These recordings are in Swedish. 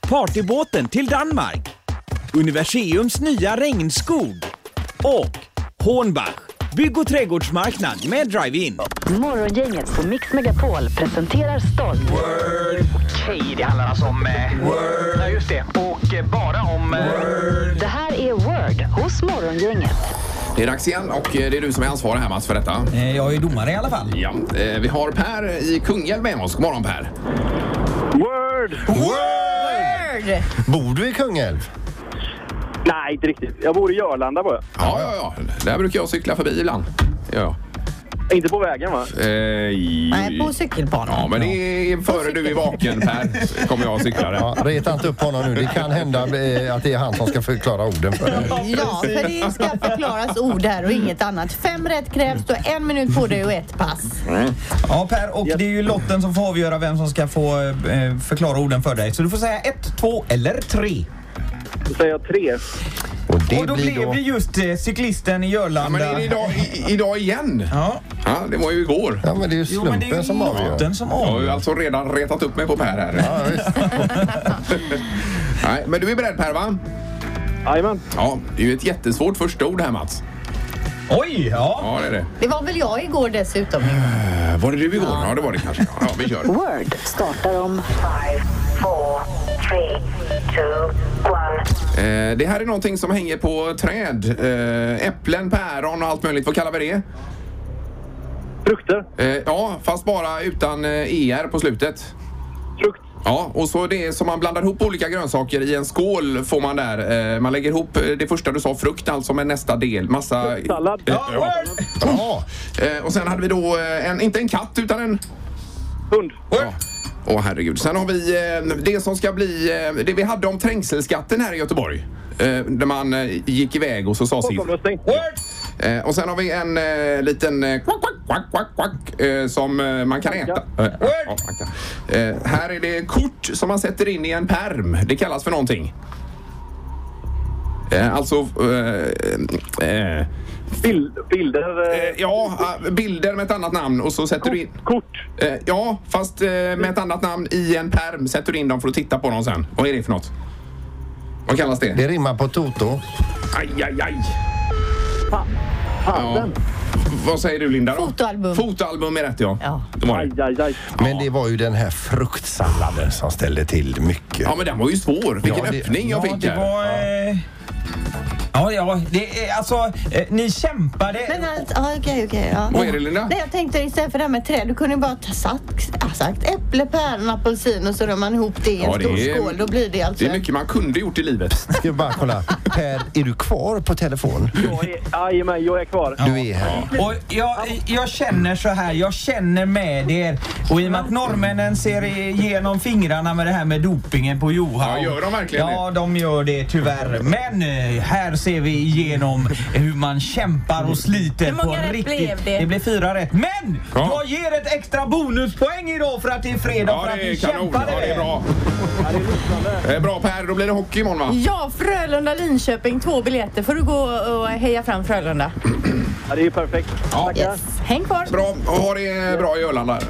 partybåten till Danmark. Universiums nya regnskog. Och Hornbach, bygg och trädgårdsmarknad med drive-in. Morgongänget på Mix Megapol presenterar stolt Okej, det handlar alltså om... Eh, Word. Ja, just det. Och eh, bara om... Eh, Det här är Word hos Morgongänget. Det är dags igen och eh, det är du som är ansvarig här Mats för detta. Eh, Jag är domare i alla fall. Ja, eh, vi har Per i Kungälv med oss. God morgon Per! Word! Bor du i Kungälv? Nej, inte riktigt. Jag bor i Jörlanda bara. Ja, ja, ja. Där brukar jag cykla förbi ibland. Ja. Inte på vägen va? Eh, i- Nej, på cykelbanan. Ja, men det är före du är vaken Per, så kommer jag att cykla Ja, där. reta inte upp honom nu. Det kan hända eh, att det är han som ska förklara orden för dig. Ja, för det ska förklaras ord här och inget annat. Fem rätt krävs, du har en minut på dig och ett pass. Ja, Per, och det är ju lotten som får avgöra vem som ska få eh, förklara orden för dig. Så du får säga ett, två eller tre. Då säger jag tre. Och det och då blir blev då... det just eh, cyklisten i Ja, men Jörlanda. är det idag, i, idag igen? Ja. Ja, det var ju igår. Ja, men det är ju Jo, men slumpen det är ju som avgör. lotten som Jag har avgör. ju alltså redan retat upp mig på Per här. Ja, visst. Nej, men du är beredd Per va? Jajamän. Ja, det är ju ett jättesvårt första ord här Mats. Oj, ja. Ja, det är det. Det var väl jag igår dessutom. Eh, Var det du igår? Ja, det var det kanske. Ja, vi kör. Word startar om Eh, det här är någonting som hänger på träd. Eh, äpplen, päron och allt möjligt. Vad kallar vi det? Frukter. Eh, ja, fast bara utan eh, ER på slutet. Frukt. Ja, och så det är som man blandar ihop olika grönsaker i en skål får man där. Eh, man lägger ihop eh, det första du sa, frukt alltså, med nästa del. Massa... Sallad. Eh, ja. Ja, Eh, och sen hade vi då, eh, en, inte en katt utan en... Hund. Ja. Åh herregud. Sen har vi eh, det som ska bli, eh, det vi hade om trängselskatten här i Göteborg. Eh, där man eh, gick iväg och så sa sitt. Folkomröstning. Eh, och sen har vi en eh, liten eh, kvack, kvack, kvack, kvack, kvack, eh, som eh, man kan äta. Eh, ja, man kan. Eh, här är det kort som man sätter in i en perm. Det kallas för någonting. Eh, alltså... Eh, eh, Bild, bilder. eh, Eh, ja, eh, bilder med ett annat namn och så sätter du in... Kort. Eh, ja, fast eh, med ett annat namn i en perm sätter du in dem för att titta på dem sen. Vad är det för något? Vad kallas det? det rimmar på Toto. Aj, aj, aj. Ja. Handen. Vad säger du Linda? Då? Fotoalbum. Fotoalbum är rätt ja. Ja. Det var det. Aj, aj, aj. Men det var ju den här fruktsalladen som ställde till mycket. Ja men den var ju svår. Vilken Ja, det- öppning jag Ja, fick det här. var... Eh, ja, ja, det är alltså... Eh, ni kämpade. Men alltså, ja, okej, okej. ja. Vad är det, Linda? Nej, jag tänkte istället för det här med träd, du kunde ju bara ta sagt, ja, sagt äpple, päron, apelsin och så rör man ihop det i en Ja, det stor är- skål. Då blir det alltså... Det är mycket man kunde gjort i livet. Ska vi bara kolla. Per, är du kvar på telefon? Jag är, jajamän, jag är kvar. Du är här. Och jag, jag känner så här, jag känner med er. Och i och med att norrmännen ser igenom fingrarna med det här med dopingen på Johan. Ja, gör de verkligen Ja, de gör det tyvärr. Men eh, här ser vi igenom hur man kämpar och sliter Hur många på rätt riktigt. blev det? det blev fyra rätt. Men! Ja. Jag ger ett extra bonuspoäng idag för att det är fredag Ja för att det vi är kanon. kämpade. Ja, det är bra. Ja, det är lysande. Eh, Bra Per, då blir det hockey imorgon va? Ja, Frölunda-Linköping, två biljetter. får du gå och heja fram Frölunda. Ja, det är ju perfekt. Ja. Yes. Häng kvar. Bra, och ha det bra i Öland där.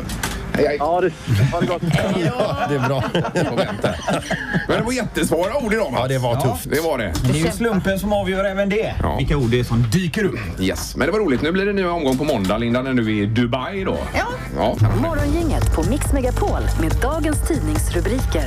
Hej, hej. Ja, det, ha det gott. Ja, det är bra. Och vänta. Men det var jättesvåra ord idag Ja, Mats. det var tufft. Det var det. Det är ju slumpen som avgör även det. Ja. Vilka ord det är som dyker upp. Yes, men det var roligt. Nu blir det en ny omgång på måndag Linda när du är i Dubai då. Ja. Ja, Morgongänget på Mix Megapol med dagens tidningsrubriker.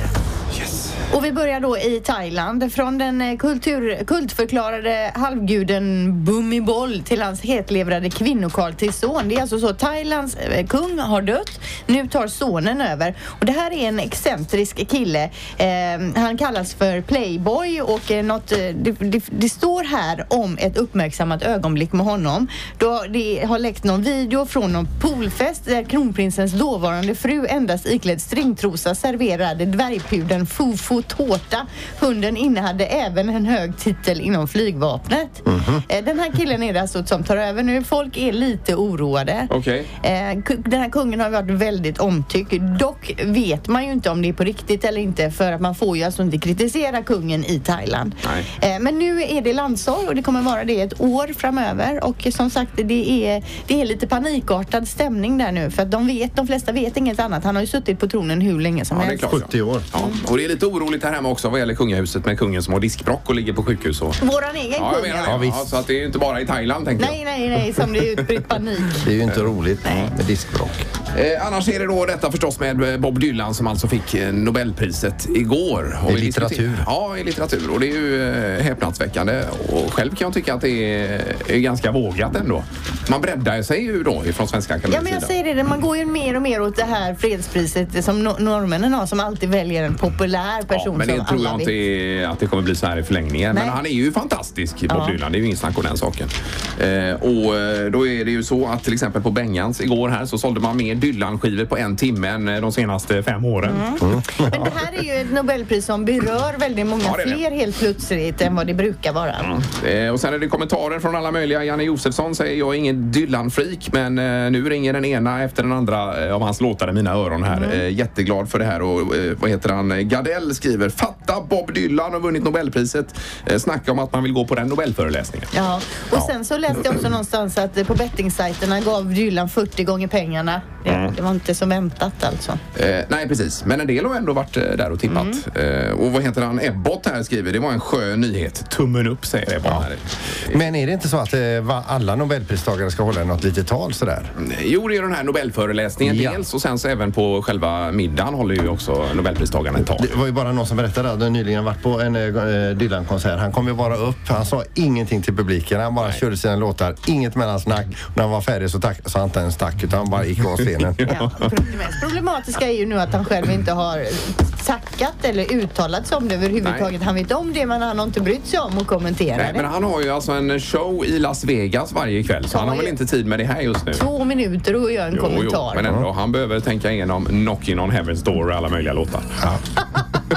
Och vi börjar då i Thailand. Från den eh, kultur, kultförklarade halvguden Bhumibol till hans hetlevrade kvinnokarl till son. Det är alltså så Thailands eh, kung har dött. Nu tar sonen över. Och det här är en excentrisk kille. Eh, han kallas för Playboy och eh, något, eh, det, det, det står här om ett uppmärksammat ögonblick med honom. Då det har läckt någon video från någon poolfest där kronprinsens dåvarande fru endast iklädd stringtrosa serverade dvärgpudeln Fufu och tårta. Hunden innehade även en hög titel inom flygvapnet. Eh, Den här killen är det alltså som tar över nu. Folk är lite oroade. Okej. Eh, ku- Den här kungen har varit väldigt omtyckt. Dock vet man ju inte om det är på riktigt eller inte för att man får ju alltså inte kritisera kungen i Thailand. Eh, Men nu är det landssorg och det kommer vara det ett år framöver och som sagt det är, det är lite panikartad stämning där nu för att de vet, de flesta vet inget annat. Han har ju suttit på tronen hur länge som Ja, det är helst. klart. 70 år. Ja. Och det är lite oroligt här hemma också vad gäller kungahuset med kungen som har diskbråck och ligger på sjukhus. Och... Våran egen Ja, jag kung. menar det. Ja, så att det är ju inte bara i Thailand tänker Nej, nej, nej, som det är utbrett panik. Det är ju inte roligt med diskbråck. jag. Eh, annars är det då detta förstås med eh, Bob Dylan som alltså fick eh, Nobelpriset igår. Och I vi diskuterar- litteratur. Ja, i litteratur. Och det är ju eh, häpnadsväckande. Och själv kan jag tycka att det är, är ganska vågat ändå. Man breddar sig ju då ifrån Svenska Ja, Akademiens men jag sida. säger det, man går ju mer och mer åt det här fredspriset som no- norrmännen har som alltid väljer en populär person Men det som tror alla jag vet. inte är, att det kommer bli så här i förlängningen. Men Nej. han är ju fantastisk, Bob Ja. Dylan. Det är ju inget snack om den saken. Eh, och eh, då är det ju så att till exempel på Bengans igår här så sålde man mer Dylan-skivor på en timme än eh, de senaste fem åren. Mm. Mm. Men det här är ju ett Nobelpris som berör väldigt många Ja, det är det. fler helt plötsligt än vad det brukar vara. Eh, och sen är det kommentarer från alla möjliga. Janne Josefsson säger jag är ingen Dylan-freak men eh, nu ringer den ena efter den andra eh, av hans låtar i mina öron här. Eh, jätteglad för det här och eh, vad heter han? Gardell skriver Fatta Bob Dylan har vunnit Nobelpriset. Eh, snacka om att man vill gå på den Nobelföreläsningen. Ja. Och sen så läste jag också någonstans att eh, på bettingsajterna gav Dylan 40 gånger pengarna. Det, Mm. det var inte som väntat alltså. Eh, nej, precis. Men en del har ändå varit eh, där och tippat. Eh, och vad heter han? Ebbot här skriver, det var en skön nyhet. Tummen upp säger Ebbot här. Men är det inte så att eh, va- alla nobelpristagare ska hålla något litet tal sådär? Jo, det är den här Nobelföreläsningen dels och sen så även på själva middagen håller ju också Nobelpristagarna ett tal. Det var ju bara någon som berättade att han nyligen varit på en eh, Dylan-konsert. Han kom ju bara upp, han sa ingenting till publiken. Han bara körde sina låtar, inget mellansnack. Och när han var färdig så tack, sa han inte ens tack utan han bara gick av scenen. Det mest problematiska är ju nu att han själv inte har tackat eller uttalat sig om det överhuvudtaget. Han vet om det men han har inte brytt sig om att kommentera Nej, det. men han har ju alltså en show i Las Vegas varje kväll så han har väl inte tid med det här just nu. Två minuter och gör en Jo, kommentar. jo, men ändå. Han behöver tänka igenom Knocking on Heaven's Door och alla möjliga låtar.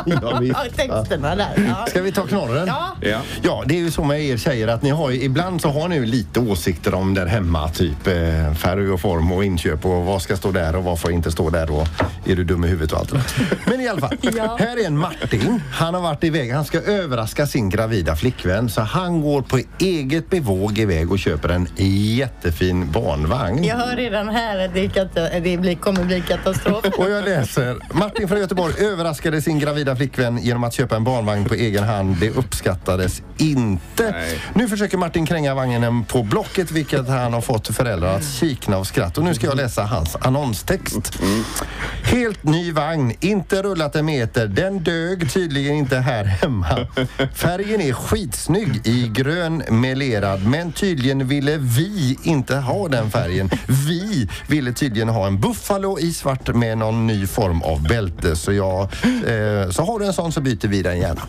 Ja, texterna där. Ja. Ska vi ta knorren? Ja. Ja. Ja, det är ju så med er tjejer att ni har ju, ibland så har ni ju lite åsikter om där hemma, typ eh, färg och form och inköp och vad ska stå där och vad får inte stå där och är du dum i huvudet och allt det där. Men i alla fall, här är en Martin. Han har varit iväg, han ska överraska sin gravida flickvän så han går på eget bevåg iväg och köper en jättefin barnvagn. Jag hör redan här att det, är kata- det blir, kommer bli katastrof. Och jag läser. Martin från Göteborg överraskade sin gravida flickvän genom att köpa en barnvagn på egen hand. Det uppskattades inte. Nu försöker Martin kränga vagnen på Blocket vilket han har fått föräldrar att kikna av skratt. Och nu ska jag läsa hans annonstext. Helt ny vagn, inte rullat en meter. Den dög tydligen inte här hemma. Färgen är skitsnygg i grön melerad men tydligen ville vi inte ha den färgen. Vi ville tydligen ha en Buffalo i svart med någon ny form av bälte. Så, jag, eh, så har du en sån så byter vi den gärna.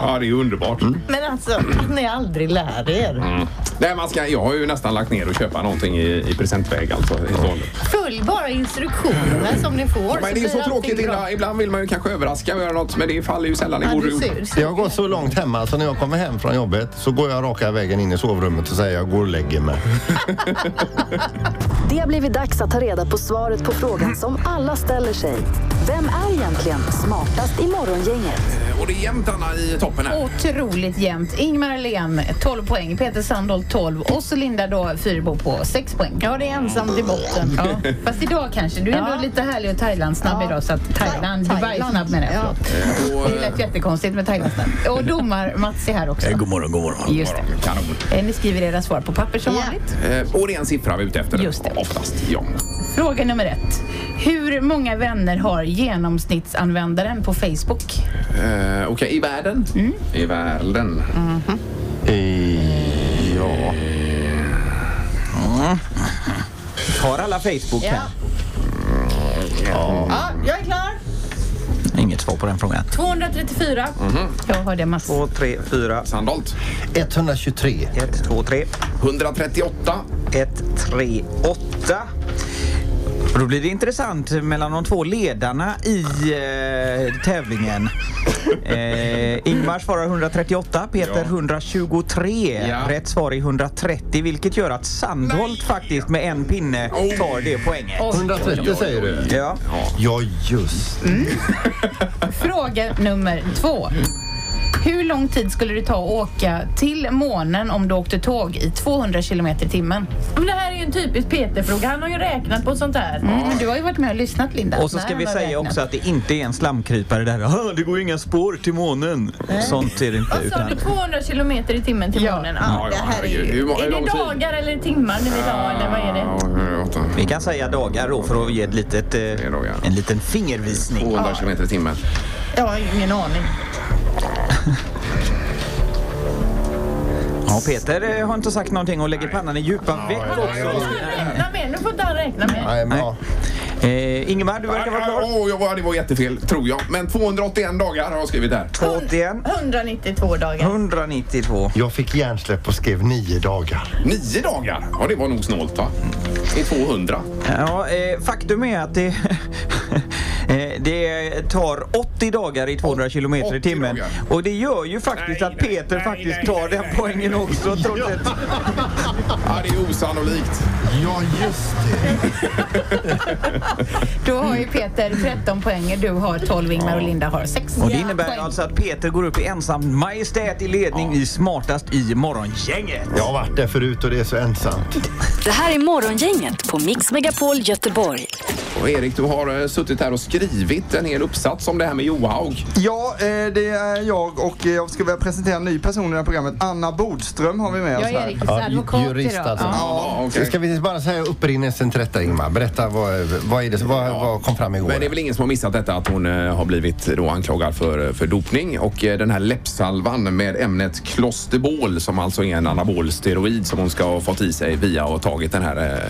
Ja, det är ju underbart. Men alltså, att ni aldrig lär er. Mm. Nej, man ska, jag har ju nästan lagt ner och köpa någonting i, i presentväg alltså. helt och hållet. Följ bara instruktionerna som ni får. Men det är blir så allting tråkigt. bra. Ibland, ibland vill man ju kanske överraska och göra något, men det faller ju sällan i Ja, god du ro. ser- du ser. Det har gått så långt hemma så när jag kommer hem från jobbet så går jag raka vägen in i sovrummet och säger jag går och lägger mig. Det har blivit dags att ta reda på svaret på frågan som alla ställer sig. Vem är egentligen smartast i Morgongänget? Och det är jämnt, Anna, i toppen här. Otroligt jämnt. Ingmar Lén 12 poäng, Peter Sandholt 12 och så Linda då Fyrbo på 6 poäng. Ja, det är ensamt i botten. Ja. Fast idag kanske. Du är Ja. ändå lite härlig och Thailand-snabb idag. Så att Thailand, du var ju snabb med det. Ja. förlåt. Det lät jättekonstigt med Thailand-snabb. Och domar Mats är här också. God morgon, god morgon. Just det. Kanon. Eh, Ni skriver era svar på papper som vanligt. Eh, Och det är en siffra vi är ute efter. Just det. Oftast, ja. Fråga nummer ett. Hur många vänner har genomsnittsanvändaren på Facebook? Eh, Okej, i världen? Mm. I världen. I... Ja. Har alla Facebook Ja. här? ja, jag är klar. Inget svar på den frågan. 234. Jag hörde 2, massor. 3, 4. Sandholt. 123. 1, 2, 3. 138. 1, 3, 8. Och då blir det intressant mellan de två ledarna i eh, tävlingen. Eh, Ingmar svarar 138, Peter Ja. 123. Rätt svar är 130 vilket gör att Sandholt faktiskt med en pinne tar det poänget. 130 säger du? Ja. Ja, just Mm. Fråga nummer två. Hur lång tid skulle det ta att åka till månen om du åkte tåg i 200 kilometer i timmen? Men det här är ju en typisk Peter-fråga. Han har ju räknat på sånt här. Mm, men du har ju varit med och lyssnat, Linda. Och så ska vi säga också att det inte är en slamkrypare där. "Ah, Det går inga spår till månen. Nej. Sånt är det inte. Vad sa Utan... du? 200 kilometer i timmen till månen? Ja, det ja, här är herregud. Hur ju... många- Är hur lång det tid? dagar eller timmar ni vill ha, eller vad är det? Vi kan säga dagar då för att ge ett litet, eh, en liten fingervisning. 200 km i timmen. Jag har ingen aning. Ja, Peter eh, har inte sagt någonting och lägger pannan i djupa veck också. Räkna med, nu får inte han räkna med. Nej, bra. Eh, Ingemar, du verkar vara klar. Oh, jag var, det var jättefel, tror jag. Men 281 dagar har jag skrivit här. 81. 192 dagar. 192. Jag fick hjärnsläpp och skrev nio dagar. Nio dagar? Ja, det var nog snålt va? Det är 200. Ja, eh, faktum är att det, eh, det tar 80 dagar i 200 kilometer i timmen. Och det gör ju faktiskt att Peter faktiskt tar den poängen också. Trots att... Ja, det är osannolikt. Ja, just Då har ju Peter 13 poäng, du har 12 Ingmar och Linda har 6. Och det innebär alltså att Peter går upp i ensam majestät i ledning i smartast i morgongänget. Jag har varit där förut och det är så ensamt. Det här är Morgongänget på Mix Megapol Göteborg. Och Erik, du har eh, suttit här och skrivit en hel uppsats om det här med Johaug. Ja, eh, det är jag och eh, jag ska väl presentera en ny person i det här programmet. Anna Bodström har vi med Jag oss är här. Erikes Ja, advokat jurist idag. alltså. Ja, okej. Ska vi bara säga upprinnelsen till detta Ingmar? Berätta vad, vad, är det, vad, vad kom fram igår? Men det är väl ingen som har missat detta att hon eh, har blivit då anklagad för, för dopning och eh, den här läppsalvan med ämnet Klosterbol som alltså är en anabol steroid som hon ska ha fått i sig via att ha tagit den här eh, En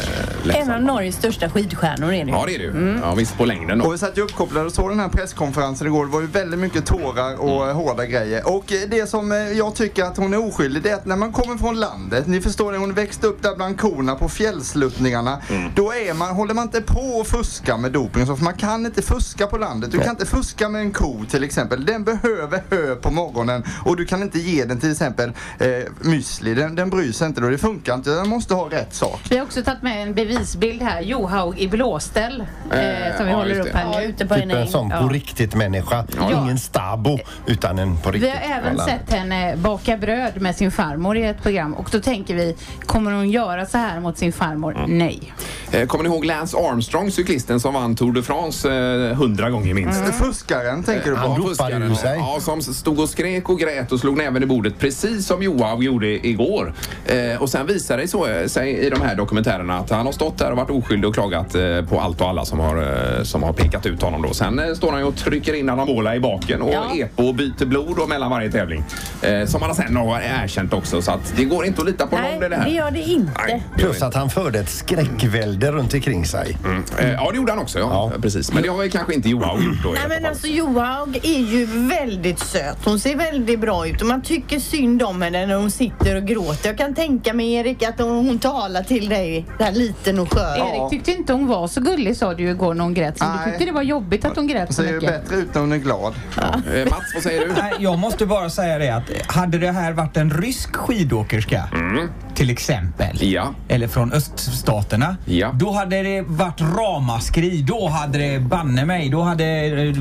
läppsalvan. av Norges största skidstjärnor är det Ja, det är det ju. Ja, visst, på längden då. Och vi satt ju uppkopplade och såg den här presskonferensen igår. Det var ju väldigt mycket tårar och eh, hårda grejer. Och eh, det som eh, jag tycker att hon är oskyldig det är att när man kommer från landet, ni förstår det, hon växte upp där bland korna på fjällsluttningarna. Då är man, håller man inte på och fuska med doping och så, för man kan inte fuska på landet. Du kan inte fuska med en ko till exempel. Den behöver hö på morgonen och du kan inte ge den till exempel eh, müsli. Den, den bryr sig inte då. Det funkar inte. Den måste ha rätt sak. Vi har också tagit med en bevisbild här, Johaug i blåställ, eh, som vi ja, håller just upp det. här nu. ute på Typ en sån på riktigt människa. Ja. Ingen stabo, utan en på Vi riktigt. har även sett henne baka bröd med sin farmor i ett program och då tänker vi, kommer hon göra så här mot sin farmor? Nej. Eh, Kommer ni ihåg Lance Armstrong, cyklisten som vann Tour de France eh, hundra gånger minst? Mm. Fuskaren tänker du på? Ja, fuskaren. Ja, som stod och skrek och grät och slog näven i bordet precis som Johaug gjorde igår. Eh, och sen visade det så, sig i de här dokumentärerna att han har stått där och varit oskyldig och klagat eh, på allt och alla som har, eh, som har pekat ut honom då. Sen eh, står han ju och trycker in anabola i baken och Ja. epo och byter blod då mellan varje tävling. Eh, som han sen har erkänt också så att det går inte att lita på någon i det här. Det gör det inte. Plus att han förde ett skräckvälde runt omkring sig. Eh, ja, det gjorde han också. Ja. Precis. Men det har ju kanske inte Johaug gjort då. i Nej alla men fall. alltså Johaug är ju väldigt söt. Hon ser väldigt bra ut och man tycker synd om henne när hon sitter och gråter. Jag kan tänka mig Erik att hon, hon talar till dig där liten och skör. Erik tyckte inte hon var så gullig sa du ju igår när hon grät. Så du Nej. tyckte det var jobbigt att hon grät Alltså, så Ser ju mycket. bättre ut när hon är glad. Eh, Mats, vad säger du? Nej, jag måste bara säga det att hade det här varit en rysk skidåkerska till exempel, eller från öststaterna, då hade det varit ramaskri. Då hade det banne mig, då hade eh,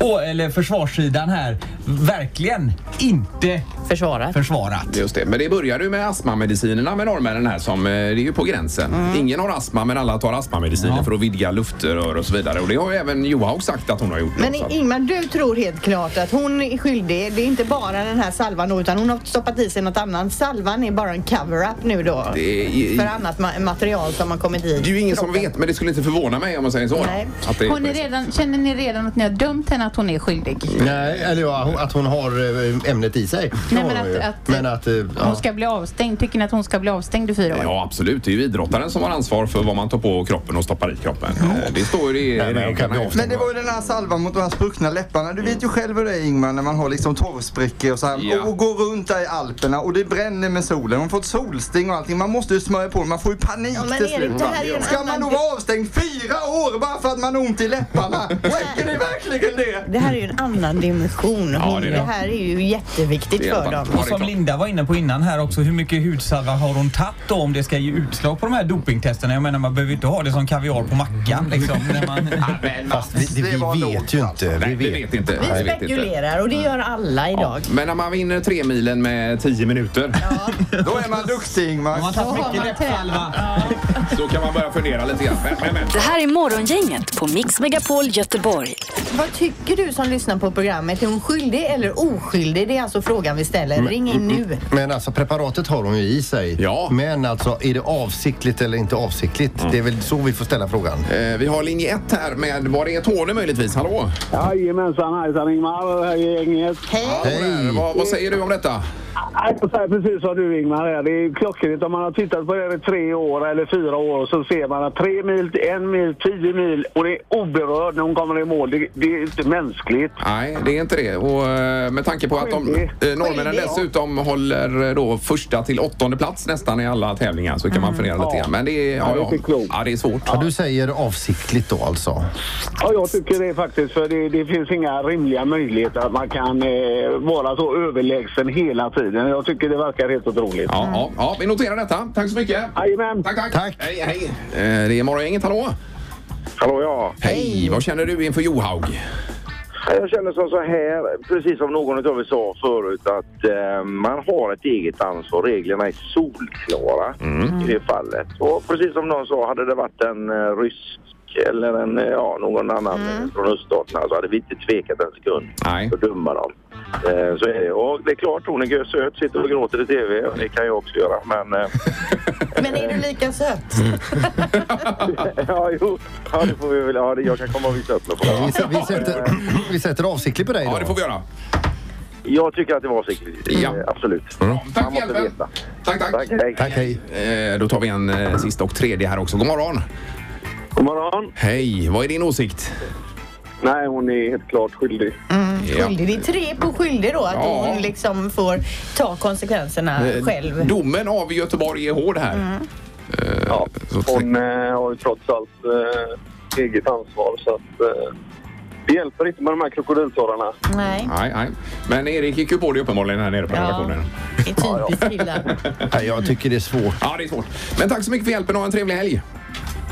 å, eller försvarssidan här verkligen inte försvarat. försvarat. Just det, men det börjar ju med astmamedicinerna med norrmännen här som, eh, det är ju på gränsen. Mm. Ingen har astma men alla tar astmamediciner för att vidga luftrör och så vidare. Och det har ju även Johaug sagt att hon har gjort. nu, Men så att- Ingmar, du tror helt klart att hon är skyldig. Det är inte bara den här salvan då, utan hon har stoppat i sig något annat. Salvan är bara en cover-up nu då. Det är- För annat ma- material som har kommit i. Det är ju ingen som vet, men det skulle inte förvåna mig om man säger så. Nej. Att det är Har på ni det sättet. redan, känner ni redan att ni har dömt henne att hon är skyldig? Nej, eller ja, hon- att hon har eh, ämnet i sig. Nej, men Har hon att- ju. att- men att eh, ja. Hon ska bli avstängd. Tycker ni att hon ska bli avstängd i fyra år? Ja, absolut. Det är ju idrottaren som har ansvar för vad man tar på kroppen och stoppar i kroppen. kroppen. Eh, Det står ju i reglerna. Men det var ju den här salvan mot de här spruckna läpparna. Du vet ju själv hur det är Ingmar när man har liksom torvsprickor och så här. Ja. Och, och går runt där i Alperna och det bränner med solen. Man får ett solsting och allting. Man måste ju smörja på det. Man får ju panik Ja, men till Erik, slut. det här är en Ska man annan då vara avstängd fyra år bara för att man har ont i läpparna? Räcker det verkligen det? Det här är ju en annan dimension. Ja, Hon, det det, är det. här är ju jätteviktigt för dem. Och som Linda var inne på innan här också, hur mycket hudsalva har hon tagit då om det ska ge utslag på de här dopingtesterna? Jag menar man behöver ju inte ha det som kaviar på mackan liksom. När man... Fast vi, det, vi vet ju alltså. inte. Nej, vi vet inte. Vi Nej, vet inte. spekulerar och det gör alla idag. Men när man vinner tre milen med 10 minuter, Då är man duktig Ingmar. har tagit mycket läppsalva. då kan man börja fundera lite grann. Men, men, men. Det här är Morgongänget på Mix Megapol Göteborg. Vad tycker du som lyssnar på programmet? Är hon skyldig eller oskyldig? Det är alltså frågan vi ställer. Ring in nu. Men alltså preparatet har hon ju i sig. Ja. Men alltså är det avsiktligt eller inte avsiktligt? Det är väl så vi får ställa frågan. Eh, Vi har linje ett här med, var det är Tårne möjligtvis? Hallå? Jajamensan, hejsan Ingmar. Hej gänget. Hej! Vad, vad säger du om detta? Jag säger precis som du Ingmar. här. Det är klockrent. Om man har tittat på det här i tre år eller fyra år så ser man att tre mil, en mil, tio mil och det är oberörd när hon kommer i mål. Det, det är inte mänskligt. Nej, det är inte det. Och eh, med tanke på att de, eh, norrmännen Skyldig. dessutom håller eh, då första till åttonde plats nästan i alla tävlingar så kan Mm. man fundera lite grann. Men det är, ja, Ja, det är ja, inte klokt. ja, det är svårt. Ja, du säger avsiktligt då alltså? Ja, jag tycker det faktiskt. För det, det finns inga rimliga möjligheter att man kan eh, vara så överlägsen hela tiden. Jag tycker det verkar helt otroligt. Ja, ja, ja, vi noterar detta. Tack så mycket. Jajamän. Tack, tack. Hej, hej. Eh, Det är Morgongänget, hallå? Hallå, ja. Hej, vad känner du inför Johaug? Jag känner som så här, precis som någon av er sa förut, att eh, man har ett eget ansvar. Reglerna är solklara i det fallet. Och precis som någon sa, hade det varit en eh, rysk eller en, eh, ja, någon annan eh, från öststaterna så hade vi inte tvekat en sekund Nej. att döma dem. Eh, så är det. Och det är klart, hon är görsöt, sitter och gråter i tv. Och det kan jag också göra, men... Eh, Men är du lika söt? ja, jo. Ja, det får vi väl. Ja, det, jag kan komma och visa upp mig på det. Vi, vi, sätter, vi sätter avsiktligt på dig då. Ja, det får vi göra. Jag tycker att det var avsiktligt. Ja. Eh, Absolut. Tack för hjälpen. Tack, tack. hej. Tack, hej. Eh, Då tar vi en eh, sista och tredje här också. God morgon. God morgon. Hej, vad är din åsikt? Nej, hon är helt klart skyldig. Skyldig. Det är tre på skyldig då. Att Ja. hon liksom får ta konsekvenserna Eh, själv. Domen av Göteborg är hård här. Ja, hon eh, har ju trots allt eh, eget ansvar så att eh, det hjälper inte med de här krokodiltårarna. Nej. Nej, nej. Men Erik gick ju på det uppenbarligen här nere på Ja. redaktionen. Det är typiskt killar. Nej, jag tycker det är svårt. Ja, det är svårt. Men tack så mycket för hjälpen och ha en trevlig helg.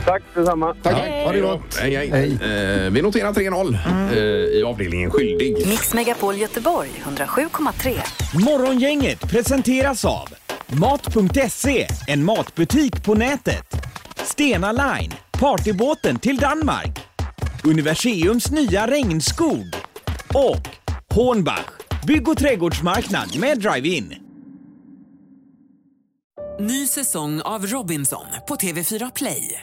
Tack detsamma. Tack. Hej. Ha det gott. Hej, hej. Eh, vi noterar 3-0 eh, i avdelningen skyldig. Mix Megapol Göteborg 107,3. Morgongänget presenteras av Mat.se, en matbutik på nätet. Stena Line, partybåten till Danmark. Universiums nya regnskog. Och Hornbach, bygg och trädgårdsmarknad med drive-in. Ny säsong av Robinson på TV4 Play.